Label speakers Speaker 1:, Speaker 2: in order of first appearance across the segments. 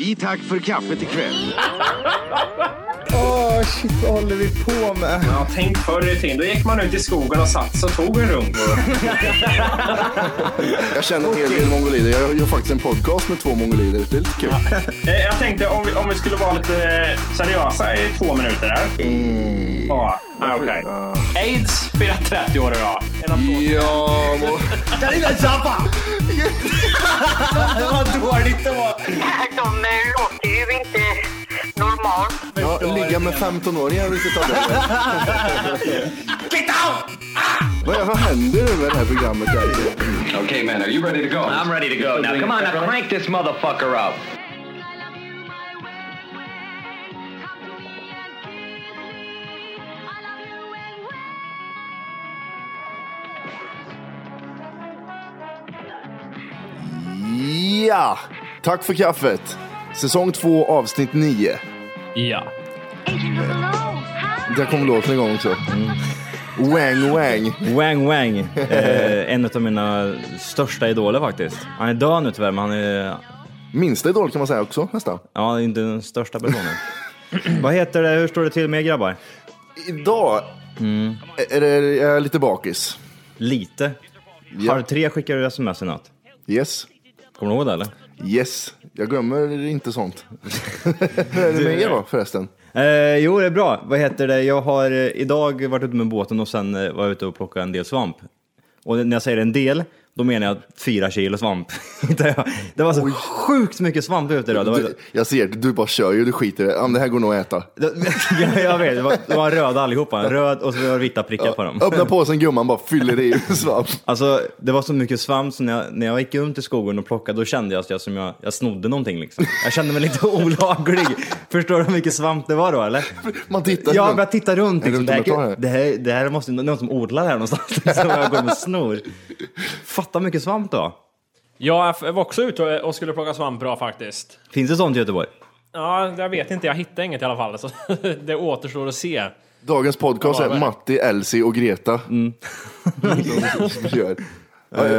Speaker 1: I tack för kaffet ikväll.
Speaker 2: Åh, shit, vad håller vi på med?
Speaker 3: Ja, tänk förr i tiden. Då gick man ut i skogen och satt sig och tog en runk.
Speaker 4: Jag känner en hel del mongolider. Jag gör faktiskt en podcast med två mongolider. Det är lite kul.
Speaker 3: Eh, Jag tänkte om vi, om vi skulle vara lite eh, seriösa i två minuter där. Ja, ah, okej. Aids firar 30 år idag. En applåd.
Speaker 4: Ja, må...
Speaker 3: Vad dåligt det var.
Speaker 5: De eh, låter ju inte normalt.
Speaker 4: ja, ligga med 15-åringar vilket av det är. Vad, vad händer nu med det här programmet? Där?
Speaker 6: Okay, man, are you ready to go? I'm ready to go. Now, come on, now crank this motherfucker up.
Speaker 4: Ja! Tack för kaffet. Säsong 2, avsnitt 9.
Speaker 7: Ja.
Speaker 4: Där kom låten igång också. Mm. Wang Wang.
Speaker 7: Wang Wang. Eh, en av mina största idoler faktiskt. Han är död nu tyvärr, men han är
Speaker 4: Minsta idol kan man säga också nästan.
Speaker 7: ja, inte den största personen. Vad heter det? Hur står det till med er, grabbar?
Speaker 4: Idag är, det, är jag lite bakis.
Speaker 7: Lite.
Speaker 4: Ja.
Speaker 7: Halv tre skickade du sms i natt.
Speaker 4: Yes.
Speaker 7: Kommer du ihåg det eller?
Speaker 4: Yes. Jag glömmer inte sånt. Hur är det med er då förresten?
Speaker 7: Eh, jo, det är bra. Vad heter det? Jag har eh, idag varit ute med båten och sen eh, var jag ute och plockade en del svamp. Och när jag säger en del, då menar jag fyra kilo svamp. Det var- det var så sjukt mycket svamp ute idag. Det var,
Speaker 4: Du, jag ser, du bara kör ju, du skiter i det. Ja, men det här går nog att äta.
Speaker 7: jag, jag vet, det var, det var röda allihopa. Röd och så var det vita prickar på dem.
Speaker 4: Öppna påsen gumman, bara fyller i med svamp.
Speaker 7: Alltså, det var så mycket svamp så när jag, när jag gick runt i skogen och plockade då kände jag att jag, som jag, jag snodde någonting. Liksom. Jag kände mig lite olaglig. Förstår du hur mycket svamp det var då eller?
Speaker 4: Man tittar
Speaker 7: Ja,
Speaker 4: runt.
Speaker 7: men jag tittar runt.
Speaker 4: Är det
Speaker 7: Liksom. Det,
Speaker 4: inte bara
Speaker 7: här,
Speaker 4: att ta
Speaker 7: det, här, det här måste ju någon som odlar här någonstans. Liksom, jag går med snor. Fatta mycket svamp då.
Speaker 8: Jag f- var också ute och- och skulle plocka svamp bra faktiskt.
Speaker 7: Finns det sånt i Göteborg?
Speaker 8: Ja, jag vet inte, jag hittade inget i alla fall. Så det återstår att se.
Speaker 4: Dagens podcast
Speaker 8: Ja,
Speaker 4: är
Speaker 8: men-
Speaker 4: Matti, Elsie och Greta.
Speaker 7: Mm.
Speaker 4: Som- som gör.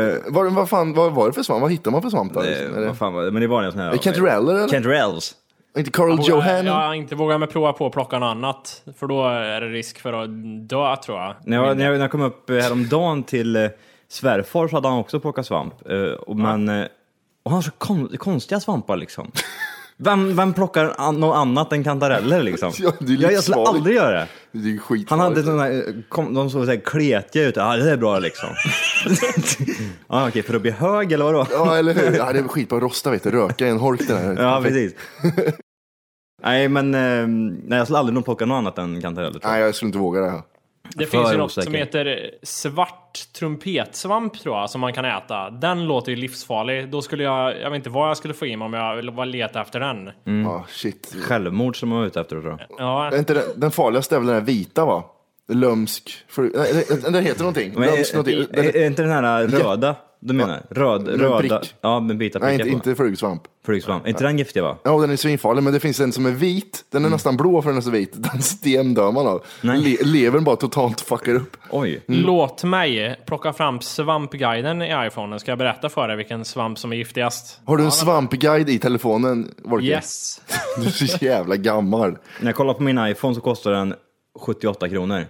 Speaker 4: Eh, Vad, vad, fan, vad var det för svamp? Vad hittar man för svamp där?
Speaker 7: Eh,
Speaker 4: Är det-
Speaker 7: vad fan var det? Men det var en sån här...
Speaker 4: Cantareller eller?
Speaker 7: Cantarells.
Speaker 4: Inte Carl Johan?
Speaker 8: Jag, jag inte vågar mig prova på att plocka något annat. För då är det risk för att dö tror jag.
Speaker 7: När jag, när jag, när jag kom upp eh, häromdagen till eh, svärfar så hade han också plockat svamp. Eh, och, men, eh, och han har så kon, konstiga svampar liksom. Vem, vem plockar an, något annat än kantareller liksom?
Speaker 4: Ja, det är
Speaker 7: jag, jag skulle
Speaker 4: livsfarligt.
Speaker 7: aldrig göra det.
Speaker 4: Det är ju skit.
Speaker 7: Han hade sådana här, eh, kom, de såg såhär kletiga ut, ja det är bra liksom. ja okej, för att bli hög eller vadå?
Speaker 4: Ja, eller hur? Ja, det är skitbra att rosta, vet du. Röka i en hork den här.
Speaker 7: Ja precis. nej men, eh, nej jag skulle aldrig nog plocka något annat än kantareller tror jag.
Speaker 4: Nej, jag skulle inte våga det här.
Speaker 8: Det
Speaker 7: För
Speaker 8: finns ju något
Speaker 7: osäker.
Speaker 8: som heter eh, svart trumpetsvamp tror jag, som man kan äta. Den låter ju livsfarlig. Då skulle jag, jag vet inte vad jag skulle få i mig om jag ville bara leta efter den.
Speaker 7: Mm.
Speaker 4: Ja, shit.
Speaker 7: Självmord som man var ute efter tror jag.
Speaker 8: Ja,
Speaker 4: Är inte den, den farligaste är väl den här vita, va? Lömsk... För, nej, den, den heter någonting.
Speaker 7: Men
Speaker 4: Lömsk
Speaker 7: är,
Speaker 4: någonting. Den,
Speaker 7: är, är inte den här röda? Du menar? Röd,
Speaker 4: Med
Speaker 7: röda?
Speaker 4: prick.
Speaker 7: Ja, med bitar
Speaker 4: nej,
Speaker 7: prickar
Speaker 4: inte,
Speaker 7: på.
Speaker 4: inte flugsvamp.
Speaker 7: Flugsvamp. Är inte den giftig va?
Speaker 4: Ja, den är svinfarlig, men det finns en som är vit. Den är
Speaker 7: Mm.
Speaker 4: nästan blå för den är så vit. Den stendör man av. Le, levern bara totalt fuckar upp.
Speaker 7: Oj.
Speaker 4: Mm.
Speaker 8: Låt mig plocka fram svampguiden i iPhonen, ska jag berätta för dig vilken svamp som är giftigast.
Speaker 4: Har du en svampguide i telefonen, Volker?
Speaker 8: Yes!
Speaker 4: Du är så jävla gammal.
Speaker 7: När jag kollar på min iPhone så kostar den 78 kronor.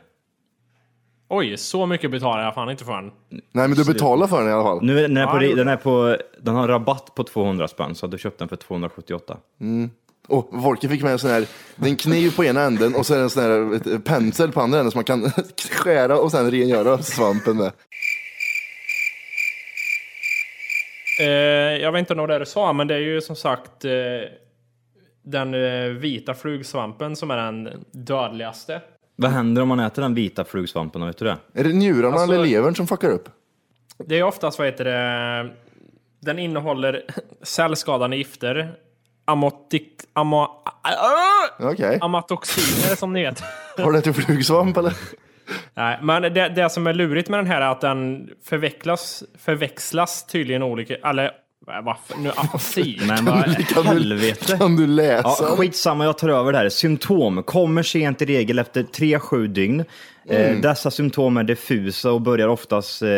Speaker 8: Oj, så mycket betalar jag fan inte för den.
Speaker 4: Nej, men du betalar för den i alla fall.
Speaker 7: Nu är den, är på,
Speaker 8: Ja, jo.
Speaker 7: den, är på, den har rabatt på 200 spänn så du köpte den för 278.
Speaker 4: Och Volker fick med en sån här, det är en kniv på ena änden och så är det en sån här ett, pensel på andra änden som man kan skära och sen rengöra svampen med.
Speaker 8: Eh, jag vet inte om det är det du sa, men det är ju som sagt eh, den eh, vita flugsvampen som är den dödligaste.
Speaker 7: Vad händer om man äter den vita flugsvampen? Vet du det?
Speaker 4: Är det njurarna
Speaker 8: Alltså-
Speaker 4: eller levern som fuckar upp?
Speaker 8: Det är oftast, vad heter det, den innehåller cellskadande gifter, amotik, amo, äh,
Speaker 4: Okej.
Speaker 8: amatoxiner som ni vet.
Speaker 4: Har du ätit flugsvamp eller?
Speaker 8: Nej, men det, det som är lurigt med den här är att den förvecklas, förväxlas tydligen olika, eller varför, nu afasi.
Speaker 7: Nej, vad helvete.
Speaker 4: Kan du läsa?
Speaker 7: Ja, skitsamma, jag tar över det här. Symptom kommer sent i
Speaker 4: Mm.
Speaker 7: regel efter 3-7 dygn. Eh, dessa symptom är diffusa och börjar oftast eh,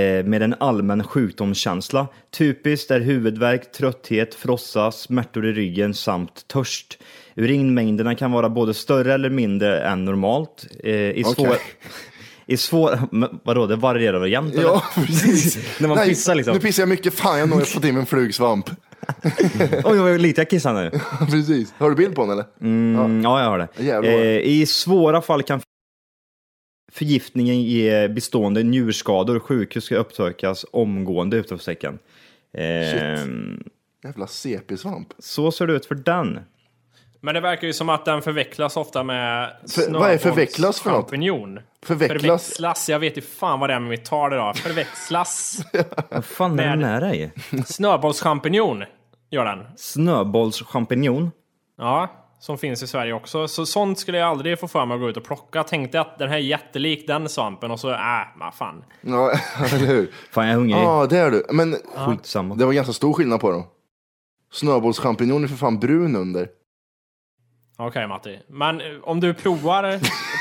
Speaker 7: eh, med en allmän sjukdomskänsla. Typiskt är huvudvärk, trötthet, frossa, smärtor i ryggen samt törst. Urinmängderna kan vara både större eller mindre än normalt. Eh, I svår...
Speaker 4: Okej.
Speaker 7: I svår... Men vadå, det varierar väl jämt? eller?
Speaker 4: Ja, precis.
Speaker 7: När man pissar liksom.
Speaker 4: Nu pissar jag mycket. Fan, jag har nog fått i mig en flugsvamp.
Speaker 7: Oj, vad lite jag kissar nu.
Speaker 4: precis. Har du bild på den eller?
Speaker 7: Mm, ja, jag har det.
Speaker 4: Jävlar.
Speaker 7: Eh, I svåra fall kan förgiftningen ge bestående njurskador. Sjukhus ska uppsökas omgående. Utropstecken. Eh,
Speaker 4: Jävla CP-svamp.
Speaker 7: så ser det ut för den.
Speaker 8: Men det verkar ju som att den förvecklas ofta med
Speaker 4: För- vad är förvecklas för något?
Speaker 8: champinjon.
Speaker 4: Förvecklas?
Speaker 8: Förväxlas. Jag vet ju fan vad det är med mitt tal idag. Förväxlas.
Speaker 7: Vad fan är
Speaker 8: Nej,
Speaker 7: den
Speaker 8: det-
Speaker 7: här i?
Speaker 8: Snöbollschampinjon gör den.
Speaker 7: Snöbollschampinjon.
Speaker 8: Ja, som finns i Sverige också. Så sånt skulle jag aldrig få för mig att gå ut och plocka. Tänkte att den här är jättelik den svampen och så, äh, vad fan.
Speaker 4: Ja, eller hur?
Speaker 7: Fan, jag är hungrig.
Speaker 4: Ja, det är du. Men
Speaker 7: Skitsamma.
Speaker 4: det var ganska stor skillnad på dem. Snöbollschampinjon är för fan brun under.
Speaker 8: Okej Matti, men eh, om du provar,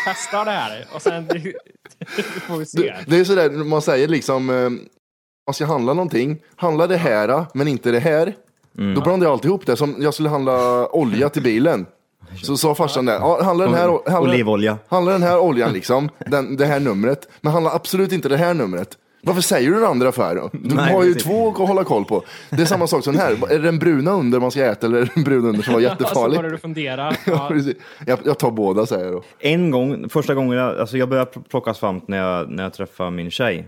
Speaker 8: testar det här och sen får vi se.
Speaker 4: Det är sådär man säger liksom, eh, man ska handla någonting, handla det här men inte det här. Då blandar jag alltid ihop det, som jag skulle handla olja till bilen. Så sa farsan det, ja, handla den här, handla,
Speaker 7: Olivolja.
Speaker 4: handla den här oljan liksom, den, det här numret, men handla absolut inte det här numret. Varför säger du det andra för? då? Du
Speaker 7: Nej,
Speaker 4: har ju
Speaker 7: precis.
Speaker 4: två att hålla koll på. Det är samma sak som den här, är det den bruna under man ska äta eller är det den bruna under som var
Speaker 8: Så
Speaker 4: jättefarlig?
Speaker 8: börjar du fundera.
Speaker 4: Ja,
Speaker 8: Ja.
Speaker 4: precis. jag, jag tar båda säger jag då.
Speaker 7: En gång, första gången, jag- alltså jag började plocka svamp när jag, när jag träffade min tjej.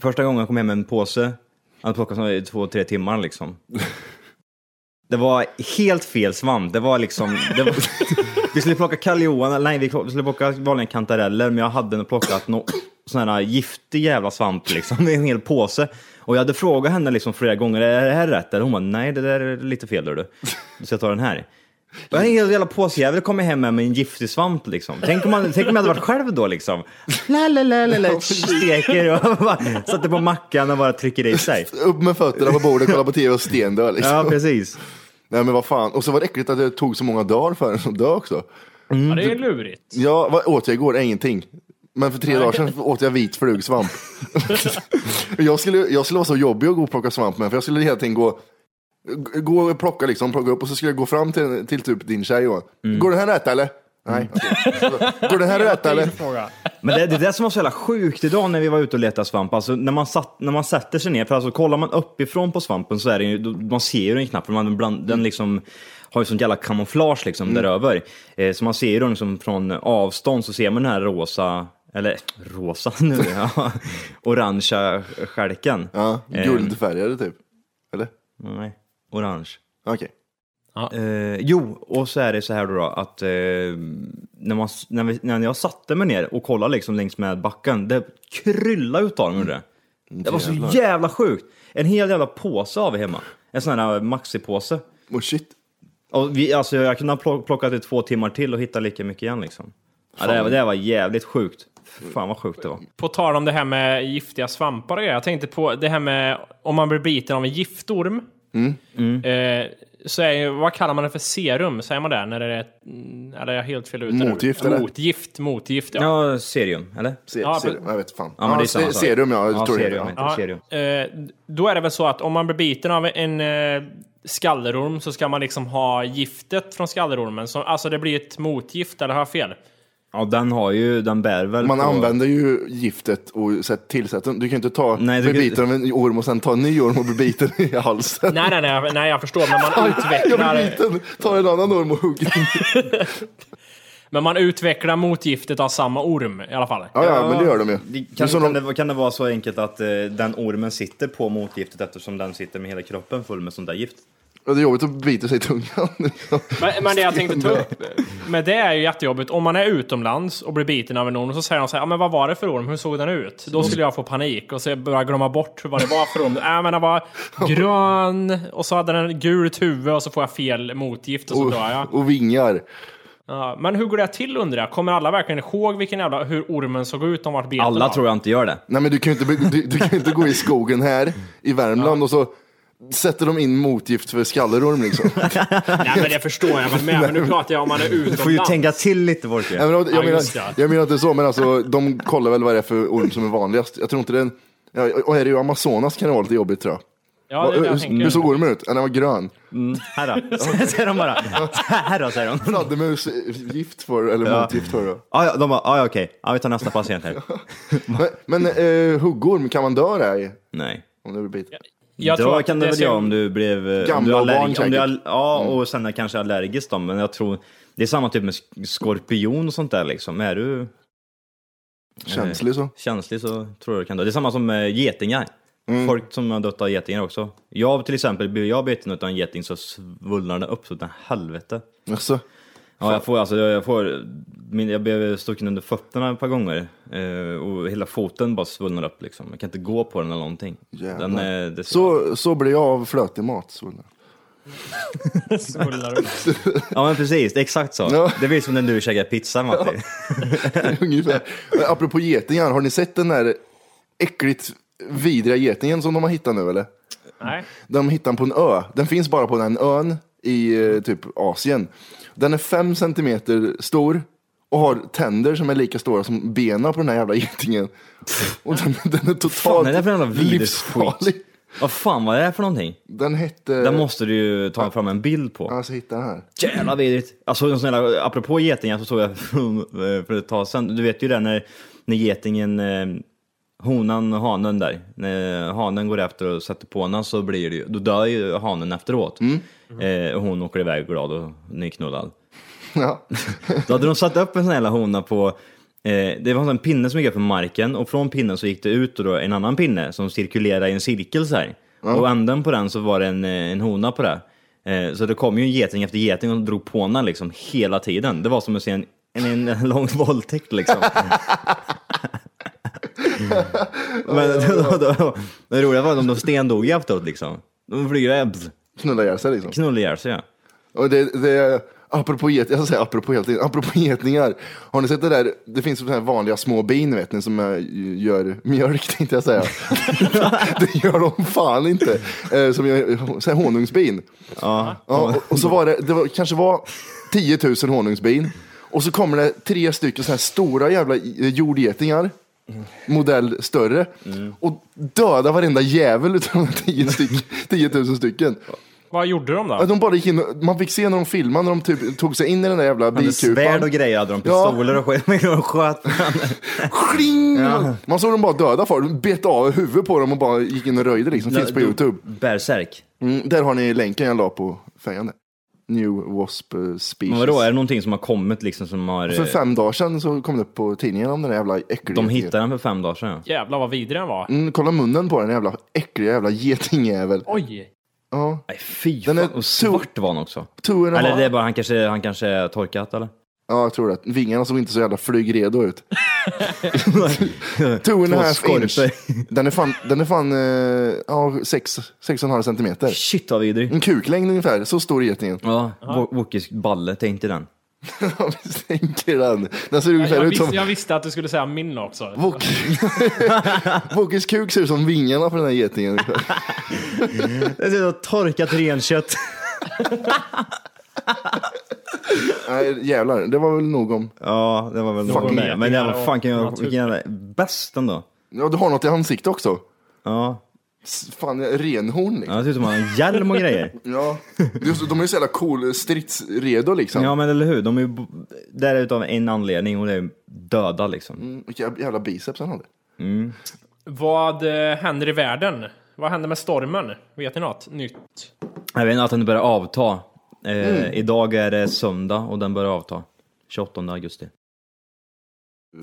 Speaker 7: Första gången jag kom hem med en påse, jag hade plockat svamp i två, tre timmar liksom. Det var helt fel svamp, det var liksom... Det var, vi skulle plocka kalljohan, nej vi skulle plocka vanliga kantareller, men jag hade plockat no, sån här giftig jävla svamp liksom, i en hel påse. Och jag hade frågat henne liksom flera gånger, är det här rätt? Eller hon bara, nej det där är lite fel hör du. Så jag tar den här. Jag har en hel jävla påsjävel kommer hem med en giftig svamp liksom. Tänk om, man, tänk om jag hade varit själv då liksom. La, la, la, la, la, steker och bara sätter på mackan och bara trycker i sig.
Speaker 4: Upp med fötterna på bordet, kolla på tv och stendö liksom.
Speaker 7: Ja, precis.
Speaker 4: Nej men vad fan. Och så var det äckligt att det tog så många dagar för den som dö också.
Speaker 8: ja, det är lurigt.
Speaker 4: Ja, vad åt jag igår? Ingenting. Men för tre dagar sedan åt jag vit flugsvamp. jag, skulle, jag skulle vara så jobbig att gå och plocka svamp med, för jag skulle hela tiden gå g- Gå och plocka liksom, plocka upp och så skulle jag gå fram till, till typ din tjej Johan.
Speaker 7: Mm.
Speaker 4: Går den här rätt eller? Nej. okej. Går den här rätt eller?
Speaker 8: Fråga.
Speaker 7: Men det, det är det som var så jävla sjukt idag när vi var ute och letade svamp. Alltså när man, satt, när man sätter sig ner, för alltså kollar man uppifrån på svampen så är det ju, då- man ser ju den knappt, för man bland, den liksom har ju sånt jävla kamouflage liksom däröver. Eh, så man ser ju den liksom från avstånd så ser man den här rosa, eller rosa nu, ja, orangea stjälken.
Speaker 4: Ja,
Speaker 7: Eh,
Speaker 4: guldfärgade typ. Eller?
Speaker 7: nej, orange.
Speaker 4: Okej.
Speaker 7: Eh, jo, och så är det så här då, då att eh, när, man, s- när, vi, när jag satte mig ner och kollade liksom längs med backen, det kryllade utav dem gjorde det.
Speaker 4: Mm,
Speaker 7: Det var så jävla sjukt! En hel jävla påse har vi hemma. En sån här eh, maxipåse.
Speaker 4: Oh, shit.
Speaker 7: Och vi, alltså, jag kunde ha plock- plockat det två timmar till och hitta lika mycket igen liksom. Ja, det, det var jävligt sjukt. Fan vad sjukt det var.
Speaker 8: På tal om det här med giftiga svampar och grejer, jag tänkte på det här med om man blir biten av en giftorm.
Speaker 4: Mm.
Speaker 8: Eh, så är, ju- vad kallar man det för serum? Säger man det? När det är, mm, eller är jag helt fel ute? nu?
Speaker 4: Motgift, eller?
Speaker 8: Motgift, motgift, ja.
Speaker 7: Ja, serium, eller?
Speaker 4: Se,
Speaker 8: Ja,
Speaker 4: ser,
Speaker 8: men-
Speaker 4: jag vet fan.
Speaker 7: Ja, men det är samma
Speaker 4: se-
Speaker 7: sak.
Speaker 4: serum, ja.
Speaker 7: Ja,
Speaker 4: jag tror det
Speaker 7: serum,
Speaker 4: heter,
Speaker 7: ja. Serium.
Speaker 8: eh, då är det väl så att om man blir biten av en eh, skallerorm så ska man liksom ha giftet från skallerormen. Så, alltså det blir ett motgift, eller har jag fel?
Speaker 7: Ja, den har ju, den bär väl
Speaker 4: Man
Speaker 7: på-
Speaker 4: använder ju giftet och sätt- tillsätter Du kan ju inte ta,
Speaker 7: Nej, du
Speaker 4: bli
Speaker 7: kan-
Speaker 4: biten av en orm och sen ta en ny orm och bli biten i halsen.
Speaker 8: Nej, nej, nej, nej jag förstår. Men man
Speaker 4: Jag blir
Speaker 8: utvecklar,
Speaker 4: biten, tar en annan orm och hugger.
Speaker 8: men man utvecklar motgiftet av samma orm i alla fall.
Speaker 4: Ja, ja, men det gör de ju. Det är
Speaker 7: Kan,
Speaker 4: som
Speaker 7: kan,
Speaker 4: de-
Speaker 7: det, kan det vara så enkelt att eh, den ormen sitter på motgiftet eftersom den sitter med hela kroppen full med sånt där gift?
Speaker 4: ja, det är jobbigt att bita sig i tungan. liksom.
Speaker 8: Men, men det jag tänkte ta upp med det är ju jättejobbigt. Om man är utomlands och blir biten av en orm så säger de så här, ja men vad var det för orm? Hur såg den ut? Då skulle jag få panik och så börja glömma bort vad det var för orm. Nej men den var grön och så hade den gult huvud och så får jag fel motgift och så dör jag.
Speaker 4: Och, och vingar.
Speaker 8: Ja, men hur går det till undrar jag? Kommer alla verkligen ihåg vilken jävla, hur ormen såg ut? De vart beten
Speaker 7: Alla
Speaker 8: av?
Speaker 7: tror jag inte gör det.
Speaker 4: Nej, men du kan ju inte, bli- du, du kan ju inte gå i skogen här i Värmland och så sätter de in motgift för skallerorm liksom.
Speaker 8: Nej men det förstår jag väl med. Men nu pratar jag om man är utomlands.
Speaker 7: Du får ju tänka till lite Wolke.
Speaker 4: Nej, men, jag,
Speaker 8: Ja,
Speaker 4: menar,
Speaker 8: just det.
Speaker 4: jag menar inte så, men alltså, de kollar väl vad det är för orm som är vanligast. Jag tror inte det är en Ja, och är det ju Amazonas kan det vara lite jobbigt tror jag.
Speaker 8: Ja, det är det jag
Speaker 4: hur, hur
Speaker 8: tänker.
Speaker 4: såg ormen ut? Ja, Den var grön.
Speaker 7: Här då, säger de bara. Här då, säger de.
Speaker 4: Fladdermus, eh, gift för eller
Speaker 7: Ja.
Speaker 4: motgift för det.
Speaker 7: Ja, ja, de bara, ah, ja, ja, okej, ja, vi tar nästa patient här.
Speaker 4: Men, men eh, huggorm, kan man dö där i?
Speaker 7: Nej.
Speaker 4: Om det blir bit.
Speaker 8: Jag
Speaker 7: då
Speaker 8: tror att
Speaker 7: kan det
Speaker 8: det
Speaker 7: väl
Speaker 8: ser-
Speaker 7: göra om du blev... eh, om
Speaker 4: Gamla
Speaker 7: du
Speaker 4: och barn
Speaker 7: allerg- om du är
Speaker 4: säkert. Mm.
Speaker 7: all- Ja, och sen är kanske allergisk då, men jag tror... Det är samma typ med sk- skorpion och sånt där liksom. Är du
Speaker 4: Känslig så.
Speaker 7: känslig så tror jag du kan dö. Det är samma som med getingar.
Speaker 4: Mm.
Speaker 7: Folk som har dött av getingar också. Jag till exempel, blir jag biten av en geting så svullnar den upp så utan helvete.
Speaker 4: Alltså,
Speaker 7: Ja, jag får alltså, jag får... Min, jag blev stucken under fötterna ett par gånger eh, och hela foten bara svullnar upp liksom. Jag kan inte gå på den eller någonting.
Speaker 4: Jävlar.
Speaker 7: Den är, det,
Speaker 4: så, så blir jag av flötig mat. Så.
Speaker 8: Svullar upp.
Speaker 7: Ja men precis, exakt så.
Speaker 4: Ja.
Speaker 7: Det blir som när du käkar pizza Matti.
Speaker 4: Ungefär. Men Apropå getingar, har ni sett den där äckligt vidriga getingen som de har hittat nu eller?
Speaker 8: Nej.
Speaker 4: De hittar den på en ö. Den finns bara på den ön i eh, typ Asien. Den är fem centimeter stor och har tänder som är lika stora som benen på den här jävla getingen. Och den, den är
Speaker 7: Fan,
Speaker 4: totalt
Speaker 7: är det för jävla
Speaker 4: livsfarlig.
Speaker 7: vidrigt Vad fan var det här för någonting?
Speaker 4: Den hette...
Speaker 7: Den måste du ju ta fram en bild på.
Speaker 4: Alltså hitta den här.
Speaker 7: Jävla vidrigt! Alltså en sån jävla, apropå getingar så såg jag för ett tag sedan, du vet ju det när, när getingen, eh, honan och hanen där, när hanen går efter och sätter på honom så blir det ju, då dör ju hanen efteråt. Eh, och hon åker iväg glad och nyknullad.
Speaker 4: Ja.
Speaker 7: Då hade de satt upp en sån här jävla hona på eh, det var en pinne som gick upp på marken och från pinnen så gick det ut och då en annan pinne som cirkulerade i en cirkel så här. Och änden på den så var det en, eh, en hona på det. Eh, så det kom ju en geting efter geting och drog på henne liksom hela tiden. Det var som att se en, en, en lång våldtäkt liksom. Men då, då, då, det roliga var att de stendog ju efteråt liksom. De flyger, bzz,
Speaker 4: Knulla ihjäl sig liksom.
Speaker 7: knullar ihjäl sig. ja.
Speaker 4: Och det, det, apropå getingar, jag ska säga apropå hela tiden, apropå getingar. Har ni sett det där, det finns sådana här vanliga små bin vet ni som eh, gör mjölk tänkte jag säga. det gör de fan inte. Eh, Som gör så här honungsbin. Ja. och, och så var det, det var, kanske var 10 000 honungsbin. Och så kommer det tre stycken så här stora jävla eh, jordgetingar. Modell större. Och döda varenda jävel utav de här 10 styck- 10 000 stycken.
Speaker 8: Vad gjorde de
Speaker 4: Ja,
Speaker 8: då?
Speaker 4: de bara gick in och, man fick se när de filmade när de typ, tog sig in i den där jävla
Speaker 7: Hade svärd och
Speaker 4: bikupan.
Speaker 7: grejer hade de,
Speaker 4: Ja.
Speaker 7: pistoler och skit. Men de sköt
Speaker 4: Kling! Man såg dem bara döda folk. De bet av huvudet på dem och bara gick in och röjde liksom. Finns på
Speaker 7: Du-
Speaker 4: YouTube.
Speaker 7: Berserk.
Speaker 4: Mm, där har ni länken jag la på fejan. där. New Wasp eh, Species.
Speaker 7: Men vadå, är det någonting som har kommit liksom som har...
Speaker 4: För
Speaker 7: eh,
Speaker 4: fem dagar sedan så kom det upp på tidningen om den där jävla äckliga.
Speaker 7: de hittade den för fem dagar sedan ja.
Speaker 8: Jävlar vad vidrig den var.
Speaker 4: Mm, kolla munnen på den jävla äckliga jävla getingjävel.
Speaker 8: Oj!
Speaker 4: Ja.
Speaker 7: Nej fy
Speaker 4: Den
Speaker 7: fan,
Speaker 4: är
Speaker 7: och svart var han också.
Speaker 4: Two and a
Speaker 7: Eller
Speaker 4: half.
Speaker 7: det är bara, han kanske, han kanske är torkat eller?
Speaker 4: Ja, jag tror det. Vingarna såg inte så jävla flygredo ut. Two and a
Speaker 7: Två
Speaker 4: half inch.
Speaker 7: skorpor.
Speaker 4: Den är fan, den är fan eh, ja, sex, sex och en halv centimeter.
Speaker 7: Shit vad vidrig.
Speaker 4: En kuklängd ungefär, så stor är getingen.
Speaker 7: Ja, Wo- Wookies balle, tänkte den.
Speaker 4: Ja, visst tänker den. Den ser ungefär
Speaker 8: Jag,
Speaker 4: ut
Speaker 8: visste-
Speaker 4: som...
Speaker 8: jag visste att du skulle säga min också.
Speaker 4: Wok- Wokis kuk ser ut som vingarna på den här getingen. ungefär.
Speaker 7: Det ser ut torkat renkött.
Speaker 4: Nej, jävlar. Det var väl nog om...
Speaker 7: Ja, det var väl något
Speaker 4: Fucking
Speaker 7: med. Men jävla
Speaker 8: och
Speaker 7: fan kan jag,
Speaker 8: natur.
Speaker 7: vilken jävla bäst ändå.
Speaker 4: Ja, du har något i ansiktet också.
Speaker 7: Ja,
Speaker 4: S- Fan, renhorn
Speaker 7: ja
Speaker 4: liksom.
Speaker 7: det ser ut som han har en hjälm och grejer.
Speaker 4: Ja. Just, de är ju så jävla cool, eh, stridsredo liksom.
Speaker 7: Ja men eller hur, de är ju bo- där utav en anledning och det är döda liksom.
Speaker 4: Mm, Vilka jävla biceps han hade.
Speaker 8: Vad eh, händer i världen? Vad händer med stormen? Vet ni något nytt?
Speaker 7: Jag vet inte, att den börjar avta. Eh, Idag är det söndag och den börjar avta. 28 augusti.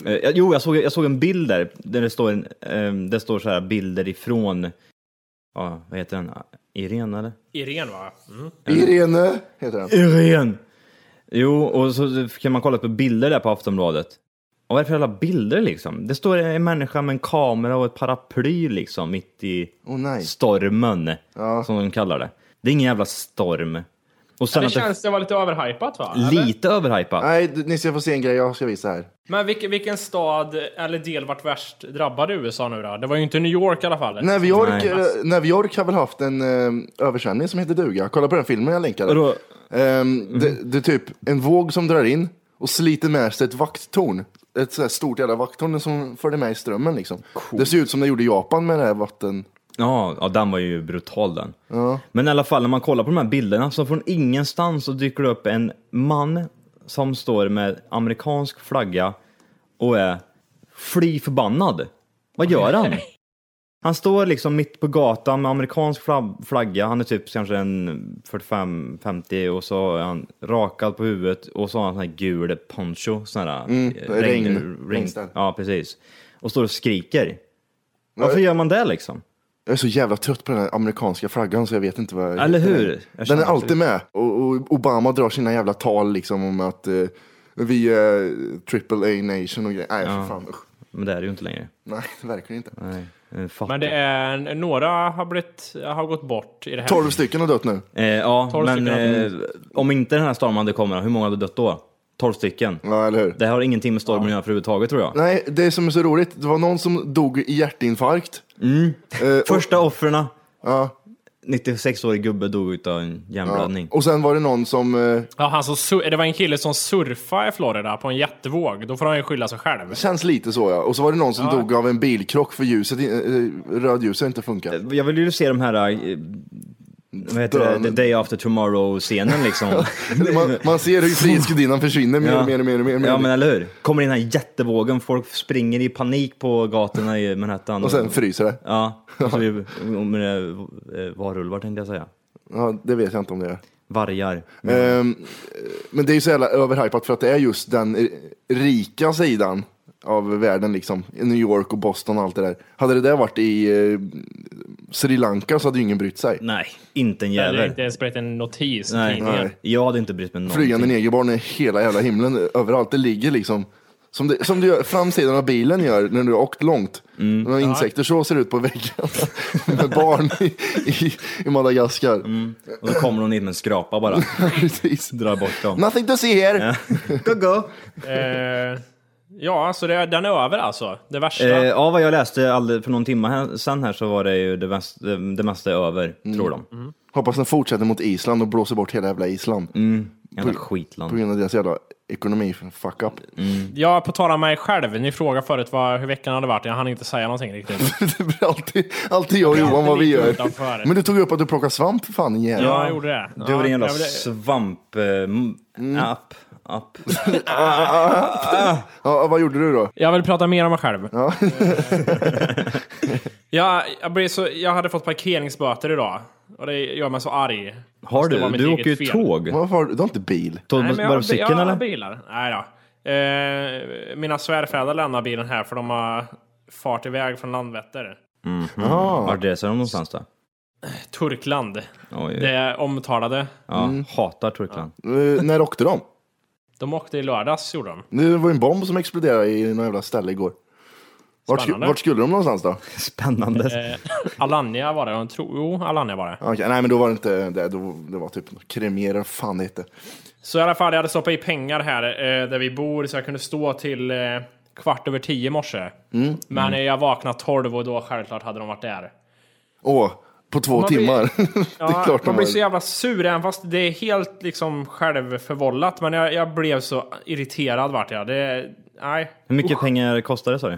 Speaker 7: Eh, jag- jo, jag såg, jag såg en bild där, där det står, en, ehm, det står så här bilder ifrån, ja, vad heter den, Irene eller?
Speaker 8: Irene va? Mm.
Speaker 4: Irene heter den.
Speaker 7: Irene! Jo, och så kan man kolla på bilder där på Aftonbladet. Och varför alla bilder liksom? Det står en människa med en kamera och ett paraply liksom mitt i
Speaker 4: Åh nej.
Speaker 7: stormen,
Speaker 4: Ja.
Speaker 7: som de kallar det. Det är ingen jävla storm. Och sen
Speaker 8: Det
Speaker 7: att det
Speaker 8: känns det var lite överhypat va? Eller?
Speaker 7: Lite överhypat.
Speaker 4: Nej, du- ni ska få se en grej jag ska visa här.
Speaker 8: Men vilken, vilken stad eller del vart värst drabbad i USA nu då? Det var ju inte New York i alla fall.
Speaker 4: New York,
Speaker 7: Nej.
Speaker 4: eh, New York har väl haft en eh, översvämning som heter duga. Kolla på den filmen jag länkade.
Speaker 7: Vadå?
Speaker 4: Ehm, det, det är typ en våg som drar in och sliter med sig ett vakttorn. Ett så här stort jävla vakttorn som förde med i strömmen liksom. Det ser ut som det gjorde i Japan med det här vatten.
Speaker 7: Ja, ja, den var ju brutal den. Men i alla fall när man kollar på de här bilderna så från ingenstans så dyker det upp en man som står med amerikansk flagga och är fly förbannad. Vad gör han? Han står liksom mitt på gatan med amerikansk flag- flagga, han är typ kanske en 45-50 och så är han rakad på huvudet och så har han sån här gul poncho, sån här mm,
Speaker 4: regn- regnställ.
Speaker 7: Ja, precis. Och står och skriker. Varför gör man det liksom?
Speaker 4: Jag är så jävla trött på den här amerikanska flaggan så jag vet inte vad jag
Speaker 7: Eller hur? Jag
Speaker 4: Den
Speaker 7: känner
Speaker 4: är
Speaker 7: också
Speaker 4: alltid med. Och, och Obama drar sina jävla tal liksom om att eh, vi är eh, triple A nation och grejer. Nej, för fan. Usch.
Speaker 7: Men det är det ju inte längre.
Speaker 4: Nej, verkligen inte.
Speaker 7: Nej, eh, fattar.
Speaker 8: Men det är, några har, blivit, har gått bort i det här.
Speaker 4: 12 stycken har dött nu.
Speaker 7: eh, ja,
Speaker 8: Tolv
Speaker 7: men
Speaker 8: stycken hade
Speaker 7: eh, om inte den här stormen hade kommit, hur många hade dött då? 12 stycken.
Speaker 4: Ja, eller hur?
Speaker 7: Det har ingenting med stormen att göra för överhuvudtaget tror jag.
Speaker 4: Nej, det som är så roligt, det var någon som dog i hjärtinfarkt. Eh, och-
Speaker 7: Första offren,
Speaker 4: Ja.
Speaker 7: 96-årig gubbe dog utav en hjärnblödning.
Speaker 4: Och sen var det någon som, eh,
Speaker 8: Ja, han som, sur- det var en kille som surfade i Florida på en jättevåg. Då får han ju skylla sig själv.
Speaker 4: känns lite så ja. Och så var det någon som dog av en bilkrock för ljuset, i- eh, rödljuset inte funkar.
Speaker 7: Jag vill ju se de här, eh, vad heter det,
Speaker 4: Dön.
Speaker 7: The Day After Tomorrow-scenen liksom.
Speaker 4: Man, man ser hur frihetsgudinnan försvinner mer och mer och mer. Och mer, och mer.
Speaker 7: Ja men eller hur? Kommer in den här jättevågen, folk springer i panik på gatorna i Manhattan.
Speaker 4: Och sen fryser det.
Speaker 7: Ja, och så är det- med det- eh, varulvar tänkte jag säga.
Speaker 4: Ja, det vet jag inte om det är.
Speaker 7: Vargar.
Speaker 4: Ehm, men det är ju så jävla överhypat för att det är just den r- rika sidan av världen liksom. I New York och Boston och allt det där. Hade det där varit i eh, Sri Lanka så hade ju ingen brytt sig.
Speaker 7: Nej, inte en
Speaker 8: Eller
Speaker 7: jävel.
Speaker 8: inte ens berättat en notis i
Speaker 7: Nej,
Speaker 8: tidningen.
Speaker 7: nej. jag hade inte brytt mig någonting.
Speaker 4: Flygande negerbarn i hela jävla himlen överallt. Det ligger liksom som, det, som du gör, framsidan av bilen gör när du har åkt långt.
Speaker 8: Mm.
Speaker 4: Några insekter så ser det ut på väggen. med barn i, i, i Madagaskar.
Speaker 8: Mm.
Speaker 7: Och då kommer de in med en skrapa bara.
Speaker 4: Precis.
Speaker 7: Drar bort dem.
Speaker 4: Nothing to see here.
Speaker 7: Go, go.
Speaker 8: Eh, ja, så det, den är över alltså. Det värsta.
Speaker 7: Eh, ja, vad jag läste alldeles, för någon timme här, sen här så var det ju det, mest, det, det mesta är över,
Speaker 4: Mm.
Speaker 7: tror de.
Speaker 8: Mm.
Speaker 4: Hoppas den fortsätter mot Island och blåser bort hela jävla Island.
Speaker 8: Mm.
Speaker 7: Jävla
Speaker 4: På
Speaker 7: skitland.
Speaker 4: grund av deras jävla ekonomi. Fuck up.
Speaker 8: Jag på tal om mig själv. Ni frågade förut vad, hur veckan hade varit. Jag hann inte säga någonting riktigt.
Speaker 4: det blir alltid, alltid jag och Johan vad vi
Speaker 8: lite
Speaker 4: gör.
Speaker 8: utanför.
Speaker 4: Men du tog upp att du plockar svamp för fan igen.
Speaker 8: Ja, jag gjorde det.
Speaker 7: Du var din jävla
Speaker 8: jag blev-
Speaker 7: svamp... Eh, m-
Speaker 4: Mm.
Speaker 7: app, app.
Speaker 4: Ja, vad gjorde du då?
Speaker 8: Jag vill prata mer om mig själv. Ja. jag, jag, blev så, jag hade fått parkeringsböter idag. Och det gör mig så arg.
Speaker 7: Har
Speaker 8: Fast det
Speaker 7: du?
Speaker 8: var mitt
Speaker 7: Du
Speaker 8: eget
Speaker 7: åker ju
Speaker 8: fel.
Speaker 7: tåg.
Speaker 4: Varför har du, du har inte bil?
Speaker 7: Tog
Speaker 8: Nej,
Speaker 7: du
Speaker 8: men jag
Speaker 7: bara
Speaker 8: har
Speaker 7: på
Speaker 8: bi-
Speaker 7: cykeln
Speaker 8: jag har
Speaker 7: eller?
Speaker 8: bilar. Nej då. Eh, mina svärfäder lämnade bilen här för de har fart iväg från Landvetter. Mm.
Speaker 7: Vart reser de någonstans då?
Speaker 8: Turkland.
Speaker 7: Oj,
Speaker 8: Det Mm. är omtalade.
Speaker 7: ja, hatar Turkland.
Speaker 4: Eh, när åkte de?
Speaker 8: De åkte i lördags gjorde de.
Speaker 4: Det var ju en bomb som exploderade i något jävla ställe igår. Vart, sku-
Speaker 8: Spännande.
Speaker 4: vart skulle de någonstans då?
Speaker 7: Spännande.
Speaker 8: Eh, Alanya var det, jag tror. Jo, Alanya var det.
Speaker 4: Okej, nej, men då var det inte det. Då, det var typ kremera, fan det hette.
Speaker 8: Så i alla fall, jag hade stoppat i pengar här eh, där vi bor så jag kunde stå till eh, kvart över tio i morse.
Speaker 4: Mm.
Speaker 8: Men eh, jag vaknade tolv och då självklart hade de varit där.
Speaker 4: Åh, på två
Speaker 8: Man blir-
Speaker 4: timmar. det är klart de
Speaker 8: man blir
Speaker 4: var-
Speaker 8: så jävla sur, även fast det är helt liksom självförvållat. Men jag, jag blev så irriterad vart jag. Det, nej.
Speaker 7: Hur mycket pengar kostar det sa du?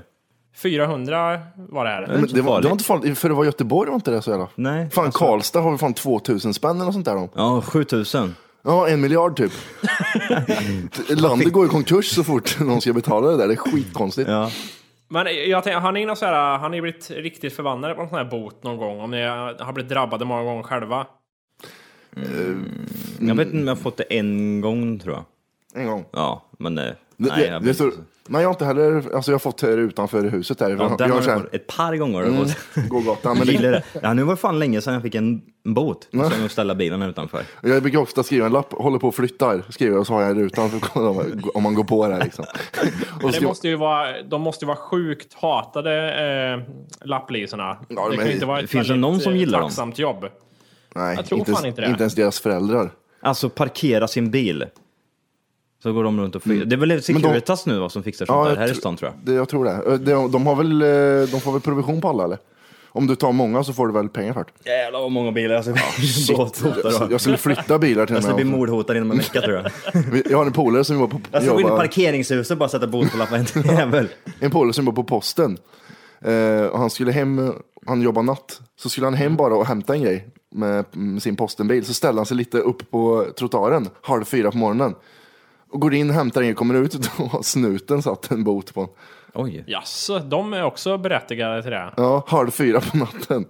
Speaker 8: 400 var det här.
Speaker 4: Men
Speaker 7: så
Speaker 4: det, var, det
Speaker 7: farligt.
Speaker 4: var inte farligt, för det var Göteborg var inte det så jävla.
Speaker 7: Nej,
Speaker 4: Fan
Speaker 7: alltså-
Speaker 4: Karlstad har vi fan 2000 spänn eller sånt där om.
Speaker 7: Ja, 7000.
Speaker 4: Ja, en miljard typ. Landet går i konkurs så fort någon ska betala det där. Det är skitkonstigt.
Speaker 7: Ja.
Speaker 8: Men jag tänkte, har ni någon så här, har ni blivit riktigt förbannade på en sån här bot någon gång? Om ni har blivit drabbade många gånger själva?
Speaker 4: Mm.
Speaker 7: Jag vet inte om jag har fått det en gång tror jag.
Speaker 4: En gång.
Speaker 7: Ja, men eh,
Speaker 4: Det,
Speaker 7: nej.
Speaker 4: det,
Speaker 7: Jag
Speaker 4: det
Speaker 7: vet
Speaker 4: står,
Speaker 7: inte.
Speaker 4: nej, jag har inte heller, alltså jag har fått här utanför huset där.
Speaker 7: Ja,
Speaker 4: jag,
Speaker 7: den
Speaker 4: jag
Speaker 7: har
Speaker 4: så
Speaker 7: jag
Speaker 4: här,
Speaker 7: fått ett par gånger. har jag
Speaker 4: mm,
Speaker 7: fått.
Speaker 4: gågatan. Men
Speaker 7: Jag
Speaker 4: det,
Speaker 7: gillar det. Ja, nu var det fan länge sedan jag fick en bot. Så jag måste ställa bilen utanför.
Speaker 4: jag brukar ofta skriva en lapp, håller på och flyttar, skriver och så har jag rutan för att kolla om, om man går på det här liksom. Och
Speaker 8: Det
Speaker 4: skriva-
Speaker 8: måste ju vara, de måste ju vara sjukt hatade, eh, lapplisorna.
Speaker 4: Ja,
Speaker 8: det kan
Speaker 4: men-
Speaker 8: ju inte vara ett
Speaker 7: finns det någon
Speaker 8: väldigt,
Speaker 7: som
Speaker 8: eh,
Speaker 7: gillar dem?
Speaker 8: tacksamt jobb.
Speaker 4: nej,
Speaker 8: jag tror
Speaker 4: inte,
Speaker 8: fan inte det.
Speaker 4: ens deras föräldrar.
Speaker 7: Alltså parkera sin bil. Så går de runt och flyger. Det är väl Securitas nu va, som fixar sånt
Speaker 4: Mm. Ja,
Speaker 7: där
Speaker 4: jag
Speaker 7: här i
Speaker 4: tr-
Speaker 7: stan tror jag.
Speaker 4: Det, jag tror det. De, de, har väl, eh, de får väl provision på alla eller? Om du tar många så får du väl pengar för det.
Speaker 7: Jävlar vad många bilar jag ska bli
Speaker 4: Så
Speaker 7: båthotad då.
Speaker 4: Jag skulle flytta bilar till
Speaker 7: Jag
Speaker 4: den
Speaker 7: ska bli
Speaker 4: här.
Speaker 7: mordhotad inom en vecka tror jag.
Speaker 4: Vi- Jag har en polare som jobbar på,
Speaker 7: Jag ska gå in i
Speaker 4: jobbar,
Speaker 7: parkeringshuset och bara sätta bot på lappen. Jävel.
Speaker 4: en polare som jobbar på posten. Eh, och han skulle hem, eh, han jobbar natt. Så skulle han hem bara och hämta en grej med, med sin postenbil. Så ställde han sig lite upp på trottoaren halv fyra på morgonen. Och går in, hämtar en grej, kommer ut. Då har snuten satt en bot på honom.
Speaker 7: Oj.
Speaker 8: Jaså, de är också berättigade till det.
Speaker 4: Ja, halv fyra på natten.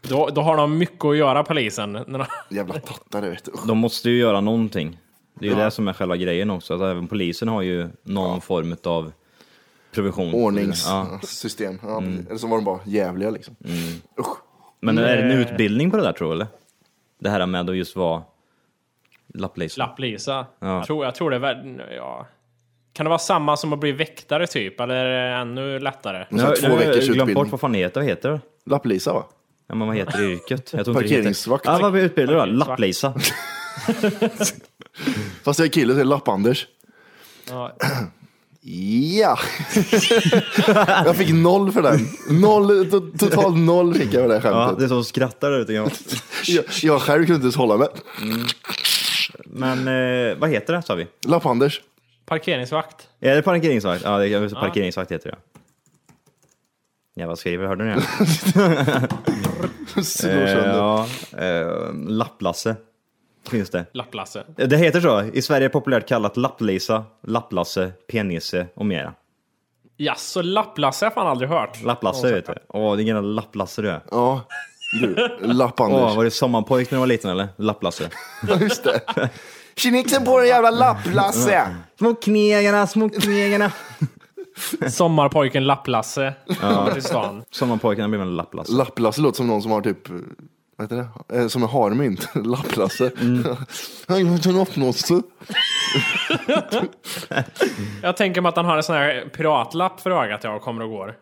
Speaker 8: Då, då har de mycket att göra polisen. När de-
Speaker 4: Jävla tattare vet du. Usch.
Speaker 7: De måste ju göra någonting. Det är ju det som är själva grejen också. Att även polisen har ju någon form av provision. Ja. Mm.
Speaker 4: Ordningssystem. Ja. precis. Eller så var de bara jävliga liksom. Usch.
Speaker 7: Men är det en utbildning på det där tror du? Eller? Det här med att just vara lapplejs.
Speaker 8: Lapplisa.
Speaker 7: Ja.
Speaker 8: Jag, tror, jag tror det är... värd- Ja. Kan det vara samma som att bli väktare typ? Eller är det ännu lättare?
Speaker 4: Så här två
Speaker 7: jag
Speaker 4: veckors
Speaker 7: glömt bort
Speaker 4: utbildning.
Speaker 7: vad fan det heter. Vad heter det?
Speaker 4: Lapplisa va?
Speaker 7: Ja, men vad heter yrket? Jag tror inte det
Speaker 4: Parkeringsvakt.
Speaker 7: Heter... Ja, vad blir utbildad då? Lapplejsa.
Speaker 4: Fast jag är kille så är det Lapp-Anders.
Speaker 8: Ja.
Speaker 4: Ja! jag fick noll för den. Noll, to- totalt noll fick jag för det
Speaker 7: Ja, det
Speaker 4: skämtet.
Speaker 7: är som skrattar där ute. kan jag-
Speaker 4: Jag, jag själv kunde inte ens hålla mig.
Speaker 7: Men eh, vad heter det sa vi?
Speaker 4: Lapp-Anders.
Speaker 8: Parkeringsvakt.
Speaker 7: Är det parkeringsvakt? Ja, det är parkeringsvakt heter det. Jävlar skriver, hörde ni det?
Speaker 4: Slår
Speaker 7: Eh,
Speaker 4: sönder.
Speaker 7: ja, eh, lapplasse finns det. Eh,
Speaker 8: Lapplasse.
Speaker 7: Det heter så. I Sverige är det populärt kallat lapplisa, lapplasse, penisse och mera.
Speaker 8: Jaså, lapplasse har jag fan aldrig hört.
Speaker 7: Lapplasse vet du. Åh, det är gärna lapplasse du är.
Speaker 4: Ja, du.
Speaker 7: Åh,
Speaker 4: Lapp-Anders.
Speaker 7: var det sommarpojk när du var liten eller? Lapplasse.
Speaker 4: Just det. Kinixen på den jävla Lapp-Lasse.
Speaker 7: Små knegarna, små knegarna.
Speaker 8: Sommarpojken Lapplasse kommer till stan.
Speaker 7: Sommarpojkarna blir väl lapplasse.
Speaker 4: Lapplasse låter som någon som har typ, vad heter det? Eh, Som är harmynt. Lapplasse. Han mm. en uppnåelse.
Speaker 8: Jag tänker mig att han har en sån här piratlapp för ögat jag kommer och går.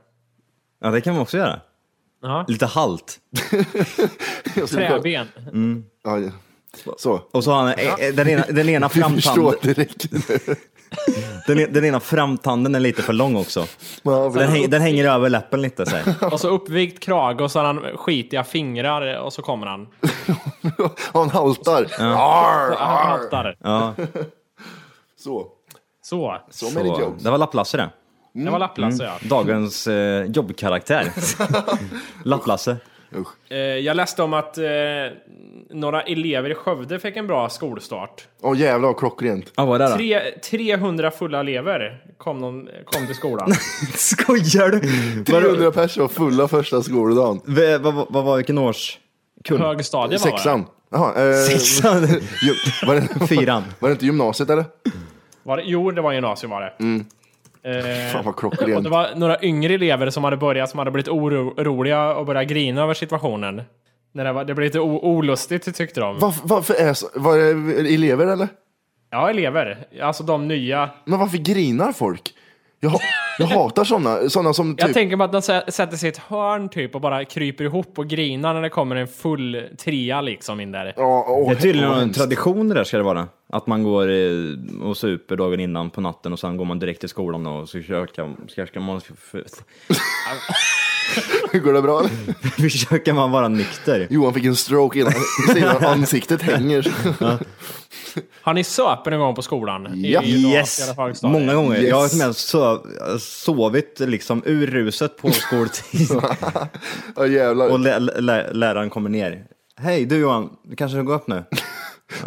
Speaker 7: Ja, det kan man också göra.
Speaker 8: Ja.
Speaker 7: Lite halt.
Speaker 4: Jag skulle-
Speaker 8: Träben.
Speaker 4: Ja, ja. Så.
Speaker 7: Och så har han eh, eh, den, ena, den ena
Speaker 4: Vi förstår
Speaker 7: framtanden.
Speaker 4: direkt.
Speaker 7: Den, e- den ena framtanden är lite för lång också.
Speaker 4: Ja,
Speaker 7: Den, häng, den hänger över läppen lite så här.
Speaker 8: Och så uppvikt krage och så har han skitiga fingrar och så kommer han.
Speaker 4: Han haltar. Arr, arr.
Speaker 8: Han haltar.
Speaker 4: Så.
Speaker 8: Så.
Speaker 4: Så Mm. med ditt
Speaker 7: Så,
Speaker 4: jobb.
Speaker 7: det var lapplasse det.
Speaker 8: Det var Lapplasse ja.
Speaker 7: Mm. Dagens eh, jobbkaraktär. Lapplasse.
Speaker 8: Eh, Jag läste om att eh, några elever i Skövde fick en bra skolstart.
Speaker 4: Åh jävlar vad klockrent.
Speaker 7: Ja, vad är det då?
Speaker 8: Tre, 300 fulla elever kom, de, kom till skolan.
Speaker 7: Skojar du? Vad-
Speaker 4: 300 personer var fulla första skoldagen.
Speaker 7: Vad vad- vad var vilken års?
Speaker 8: Högstadiet var det.
Speaker 4: Sexan. Jaha, eh,
Speaker 7: Sexan?
Speaker 4: ju- var, det,
Speaker 7: Fyran.
Speaker 4: var det inte gymnasiet eller?
Speaker 8: Eh. Var det? Jo, det var gymnasium var det. Eh,
Speaker 4: Mm. Fan vad
Speaker 8: och
Speaker 4: klockrent.
Speaker 8: det var några yngre elever som hade börjat, som hade blivit oro- oroliga och börjat grina över situationen. När det, var, det blev lite o- olustigt tyckte de.
Speaker 4: Varför, varför är så, var det elever eller?
Speaker 8: Ja, elever. Alltså de nya.
Speaker 4: Men varför grinar folk? Jag, ha- jag hatar sådana såna som
Speaker 8: Jag
Speaker 4: typ...
Speaker 8: tänker mig att de sä- sätter sig i ett hörn typ och bara kryper ihop och grinar när det kommer en full trea liksom in där.
Speaker 4: Ja, åh,
Speaker 7: Det är tydligen
Speaker 4: vad
Speaker 7: en
Speaker 4: hemskt.
Speaker 7: tradition det där ska det vara. Att man går eh, och super dagen innan på natten och sen går man direkt till skolan och så försöker, försöker, man,
Speaker 4: Går det bra eller?
Speaker 7: försöker man vara nykter.
Speaker 4: Johan fick en stroke innan, innan ansiktet hänger.
Speaker 8: Har ni söpen en gång på skolan? I-
Speaker 4: Ja.
Speaker 8: i gymnasiet
Speaker 7: Yes!
Speaker 8: eller högstadiet?
Speaker 7: Många gånger.
Speaker 4: Yes.
Speaker 7: Jag har till och med sov, sovit liksom ur ruset på skoltid
Speaker 4: Ja jävlar.
Speaker 7: och lä, lä, läraren kommer ner. Hej du Johan, du kanske ska gå upp nu?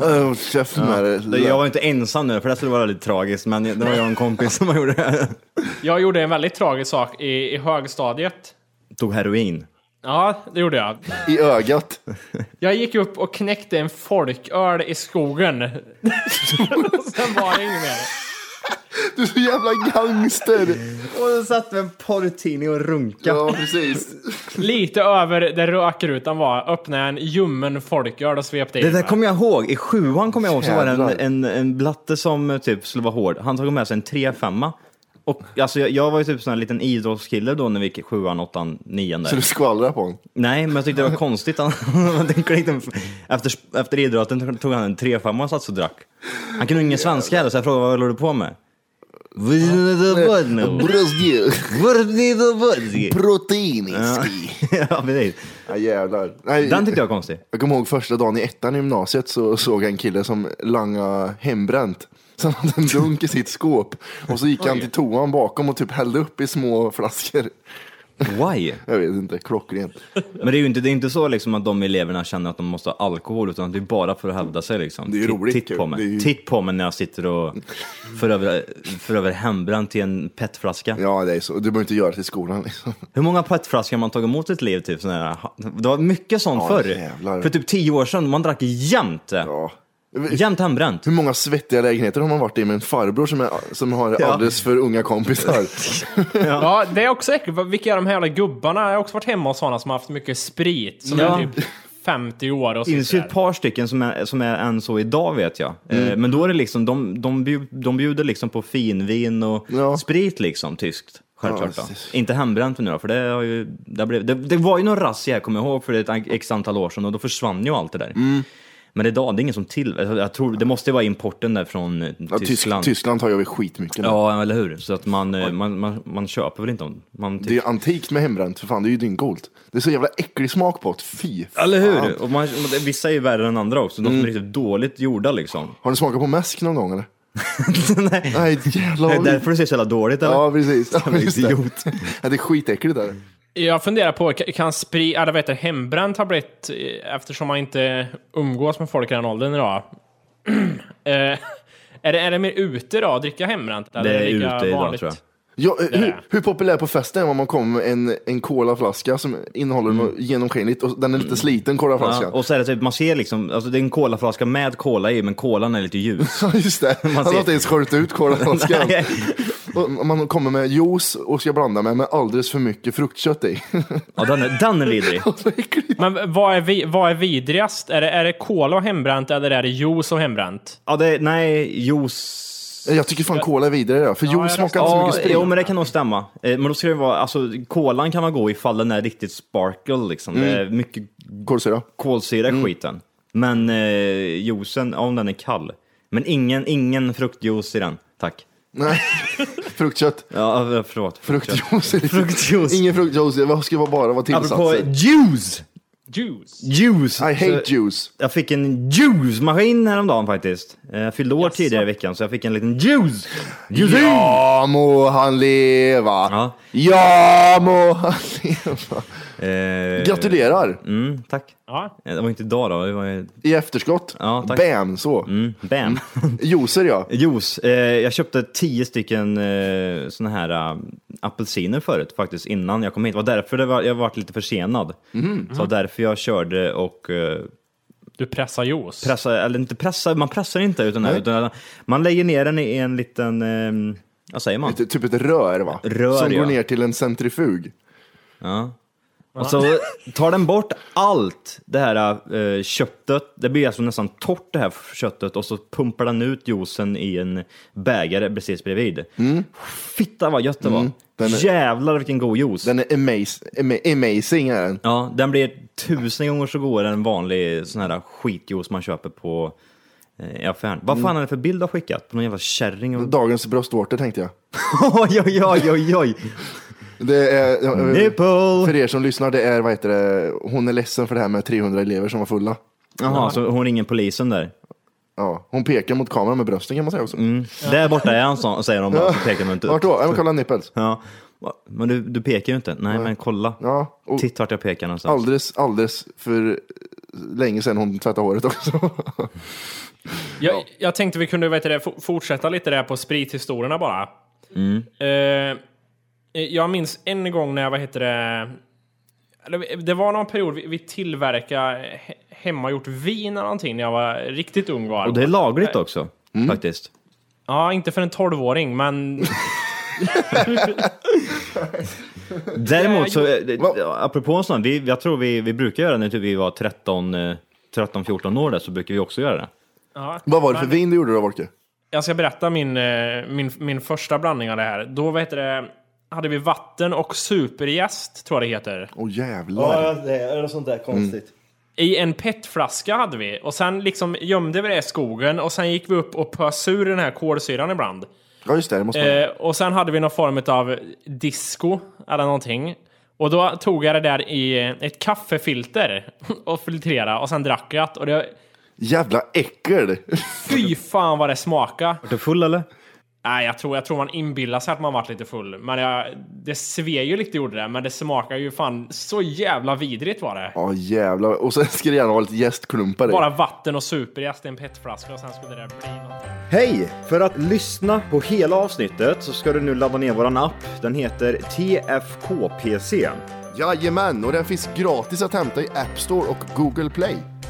Speaker 4: Äh, Käften med det.
Speaker 7: Jag var inte ensam nu för det skulle vara lite tragiskt men det var jag och en kompis som gjorde det.
Speaker 8: Jag gjorde en väldigt tragisk sak i, i högstadiet.
Speaker 7: Tog heroin.
Speaker 8: Ja, det gjorde jag.
Speaker 4: I ögat.
Speaker 8: Jag gick upp och knäckte en folköl i skogen. Sen var det inget mer.
Speaker 4: Du är så jävla gangster.
Speaker 7: Och så satt med en porrtidning och runka.
Speaker 4: Ja precis.
Speaker 8: Lite över där rökrutan var öppnade jag en ljummen folköl och svepte i
Speaker 7: Det där
Speaker 8: mig.
Speaker 7: kommer jag ihåg. I sjuan kommer jag ihåg så var det en,
Speaker 4: Jävlar.
Speaker 7: en, en blatte som eh, typ skulle vara hård. Han tog med sig en 3-5. Och alltså, jag, jag var ju typ sån här liten idrottskille då när vi gick i sjuan, åttan, nian
Speaker 4: Så
Speaker 7: där.
Speaker 4: du skvallrar på honom.
Speaker 7: Nej, men jag tyckte det var konstigt. Han, han tänkte liksom- efter, efter idrotten tog han en 3-5 och satt och drack. Han kunde ingen svenska heller så jag frågade vad håller du på med? Vridobodno.
Speaker 4: Bröstdjur.
Speaker 7: Vridobodno.
Speaker 4: Proteinisk.
Speaker 7: Ja, precis.
Speaker 4: Ja, jävlar. Nej,
Speaker 7: Den tyckte jag var konstig.
Speaker 4: Jag kommer ihåg första dagen i ettan i gymnasiet så såg jag en kille som langade hembränt. Så han hade en dunk i sitt skåp och så gick han till toan bakom och typ hällde upp i små flaskor.
Speaker 7: Why?
Speaker 4: Jag vet inte, klockrent.
Speaker 7: Men det är ju inte, det är inte så liksom att de eleverna känner att de måste ha alkohol, utan det är bara för att hävda sig. Liksom.
Speaker 4: Det är ju
Speaker 7: Titt-
Speaker 4: roligt
Speaker 7: Titt
Speaker 4: kul.
Speaker 7: på, mig.
Speaker 4: Det är ju-
Speaker 7: Titt på mig när jag sitter och för över, för över hembränt till en petflaska.
Speaker 4: Ja, det är så. Du behöver inte göra det i skolan liksom.
Speaker 7: Hur många petflaskor har man tagit emot i ett liv? Typ, sån här? Det var mycket sånt
Speaker 4: Ja,
Speaker 7: förr.
Speaker 4: jävlar.
Speaker 7: För typ tio år sedan, man drack jämt det.
Speaker 4: Ja.
Speaker 7: Jämt hembränt.
Speaker 4: Hur många svettiga lägenheter har man varit i med en farbror som, är, som har
Speaker 7: Ja.
Speaker 4: alldeles för unga kompisar?
Speaker 8: Ja, det är också äckligt. Vilka är de här jävla gubbarna? Jag har också varit hemma hos sådana som har haft mycket sprit. Som
Speaker 7: Ja.
Speaker 8: är typ 50 år och
Speaker 7: Det finns ju
Speaker 8: sådär.
Speaker 7: ett par stycken som är, som är än så idag vet jag. Eh,
Speaker 4: Mm.
Speaker 7: Men då är det liksom, de, de, bjud, de bjuder liksom på finvin och
Speaker 4: Ja.
Speaker 7: sprit liksom, tyskt. Självklart
Speaker 4: Ja,
Speaker 7: då. Inte hembränt nu då, för det, har ju, det, blev, det, det var ju någon razzia, jag kommer ihåg, för ett x antal år sedan och då försvann ju allt det där.
Speaker 4: Mm.
Speaker 7: Men idag, det är ingen som till... alltså, Jag tror, det måste ju vara importen där från eh,
Speaker 4: Ja, Tyskland.
Speaker 7: Tyskland.
Speaker 4: Tyskland tar ju över skitmycket nu.
Speaker 7: Ja, eller hur? Så att man, eh, man, man, man köper väl inte om... Man typ-
Speaker 4: Det är ju antikt med hembränt, för fan det är ju dyngcoolt. Det är så jävla äcklig smak på det, fy.
Speaker 7: Eller hur? Och man, vissa är ju värre än andra också,
Speaker 4: Mm.
Speaker 7: de som är riktigt dåligt gjorda liksom.
Speaker 4: Har ni smakat på mäsk någon gång eller?
Speaker 7: Nej.
Speaker 4: Nej, jävlar
Speaker 7: Det är
Speaker 4: vad
Speaker 7: därför det ser så jävla dåligt eller?
Speaker 4: Ja, precis. Ja,
Speaker 7: Jävla
Speaker 4: just det.
Speaker 7: idiot.
Speaker 4: Ja, det är skitäckligt där.
Speaker 8: Jag funderar på, kan- kan sprit, eller vad heter det, hembränt har blivit, eh, eftersom man inte umgås med folk i den åldern idag. eh, är, det, är det mer ute då, att dricka hembränt? Eller
Speaker 7: Det är
Speaker 8: lika
Speaker 7: ute idag
Speaker 8: vanligt?
Speaker 7: tror jag.
Speaker 4: Ja, eh, hur,
Speaker 8: Där.
Speaker 4: hur populär på festen är man om man kommer med en, en colaflaska som innehåller något genomskinligt och den är lite sliten
Speaker 7: Mm. Ja,
Speaker 4: colaflaskan.
Speaker 7: och så är det typ, man ser liksom, alltså det är en colaflaska med cola i, men colan är lite ljus.
Speaker 4: Ja, just det. Han har
Speaker 7: ser-
Speaker 4: inte ens sköljt ut colaflaskan.
Speaker 7: Nej.
Speaker 4: Och man kommer med juice och ska blanda med, med alldeles för mycket fruktkött i.
Speaker 7: Ja, den är, den är vidrig.
Speaker 4: Så äckligt.
Speaker 8: Men vad är, vi, vad är vidrigast? Är det, är det cola och hembränt eller är det juice och hembränt?
Speaker 7: Ja, det är, nej, juice.
Speaker 4: jag tycker fan cola är vidare där, för juice
Speaker 8: jag
Speaker 4: smakar inte så
Speaker 7: Ja,
Speaker 4: mycket sprit.
Speaker 7: jo, men det kan nog stämma. Eh, Men då ska det vara, alltså kolan kan man gå ifall den är riktigt sparkle liksom. Det
Speaker 4: Mm.
Speaker 7: är mycket
Speaker 4: Kolsyra.
Speaker 7: kolsyra i skiten. Men eh, juicen, ja, om den är kall. Men ingen, ingen fruktjuice i den, tack.
Speaker 4: Nej, fruktkött.
Speaker 7: Ja, eh, förlåt.
Speaker 4: Fruktjuice. är lite-
Speaker 7: Fruktjuice.
Speaker 4: Ingen fruktjuice, vad ska vara bara vara
Speaker 7: Apropå
Speaker 4: tillsatser?
Speaker 7: juice!
Speaker 8: Juice?
Speaker 7: Juice!
Speaker 4: I hate
Speaker 7: Så-
Speaker 4: juice.
Speaker 7: Jag fick en juice-maskin häromdagen faktiskt. Eh, Jag fyllde år tidigare i veckan så jag fick en liten juice. juice.
Speaker 4: Ja må han leva!
Speaker 7: Ja.
Speaker 4: Ja må han leva!
Speaker 7: Eh,
Speaker 4: Gratulerar!
Speaker 7: Mm, tack.
Speaker 8: Ja.
Speaker 7: Eh, Det var inte idag då. Det var, ju-
Speaker 4: I efterskott.
Speaker 7: Ja, tack.
Speaker 4: Bam, så.
Speaker 7: mm, bam.
Speaker 4: Juicer ja.
Speaker 7: juice. Eh, jag köpte tio stycken eh, såna här eh, apelsiner förut faktiskt innan jag kom hit. Det var därför det var, jag varit lite försenad.
Speaker 4: Mhm.
Speaker 7: Så det var därför jag körde och eh,
Speaker 8: Du pressar juice?
Speaker 7: pressa, eller inte pressa, man pressar inte utan, utan man lägger ner den i en liten, eh, vad säger man?
Speaker 4: Ett- Typ ett rör va?
Speaker 7: Rör,
Speaker 4: Som
Speaker 7: ja.
Speaker 4: går ner till en centrifug.
Speaker 7: Och så tar den bort allt det här eh, köttet, det blir alltså nästan torrt det här köttet och så pumpar den ut juicen i en bägare precis bredvid. Fitta vad gött det var!
Speaker 4: Mm. Den är-
Speaker 7: Jävlar vilken god juice!
Speaker 4: Den är amaz- ama- amazing är den.
Speaker 7: Ja, den blir tusen gånger så god än en vanlig sån här skitjuice man köper på eh, i affären. Vad fan är det för bild du har skickat? På någon jävla kärring? Och...
Speaker 4: Dagens bröstvårtor tänkte jag.
Speaker 7: oj, oj, oj, oj, oj!
Speaker 4: Det är, ja, eh, för
Speaker 7: Nipple!
Speaker 4: er som lyssnar, det är vad heter det, hon är ledsen för det här med 300 elever som var fulla.
Speaker 7: Jaha, så hon ringer polisen där.
Speaker 4: Ja, hon pekar mot kameran med brösten kan man säga också.
Speaker 7: Mm. Där borta är han, sa- säger de bara, så pekar de inte upp.
Speaker 4: Vart då? Ja, men kolla nipples.
Speaker 7: Ja. Va? Men du, du pekar ju inte. Nej, men kolla.
Speaker 4: Ja, och
Speaker 7: Titta vart jag pekar någonstans.
Speaker 4: alldeles, alldeles för länge sedan hon tvättade håret också.
Speaker 8: Jag, jag tänkte vi kunde vet du, det, fo- fortsätta lite där på sprithistorierna bara. Eh, jag minns en gång när jag, vad heter det, eller det var någon period vi, vi tillverkade he, hemmagjort vin eller någonting när jag var riktigt ung. Var.
Speaker 7: Och det är lagligt också, faktiskt.
Speaker 8: Ja, inte för en 12-åring, men
Speaker 7: Däremot så, eh,
Speaker 4: Va?
Speaker 7: eh, apropå en sån, vi, jag tror vi, vi brukar göra det när typ vi var 13, eh, 13, 14 år där, så brukar vi också göra det.
Speaker 8: ja.
Speaker 4: Vad var det för vin du gjorde då Volke?
Speaker 8: jag ska berätta min, eh, min, min första blandning av det här. Då vad heter det, hade vi vatten och superjäst, tror jag det heter.
Speaker 4: Åh jävlar.
Speaker 7: det är sånt där konstigt.
Speaker 8: I en petflaska hade vi och sen liksom gömde vi det i skogen och sen gick vi upp och pös ur den här kolsyran ibland.
Speaker 4: Ja, just det. det måste man.
Speaker 8: Eh, och sen hade vi någon form av disco eller någonting. Och då tog jag det där i ett kaffefilter och filtrera och sen drack jag det. Och det,
Speaker 4: Jävla äckel!
Speaker 8: fy fan vad det smakade.
Speaker 7: Vart du full eller?
Speaker 8: Nej, jag tror, jag tror man inbillar sig att man varit lite full. Men jag, det sved ju lite gjorde det, men det smakar ju fan så jävla vidrigt var det.
Speaker 4: Ja, jävlar. Och sen ska det gärna vara lite jästklumpar i.
Speaker 8: Bara vatten och superjäst i en petflaska och sen skulle det där bli någonting.
Speaker 7: Hej! För att lyssna på hela avsnittet så ska du nu ladda ner våran app. Den heter TFKPC.
Speaker 4: Jajamän, och den finns gratis att hämta i App Store och Google Play.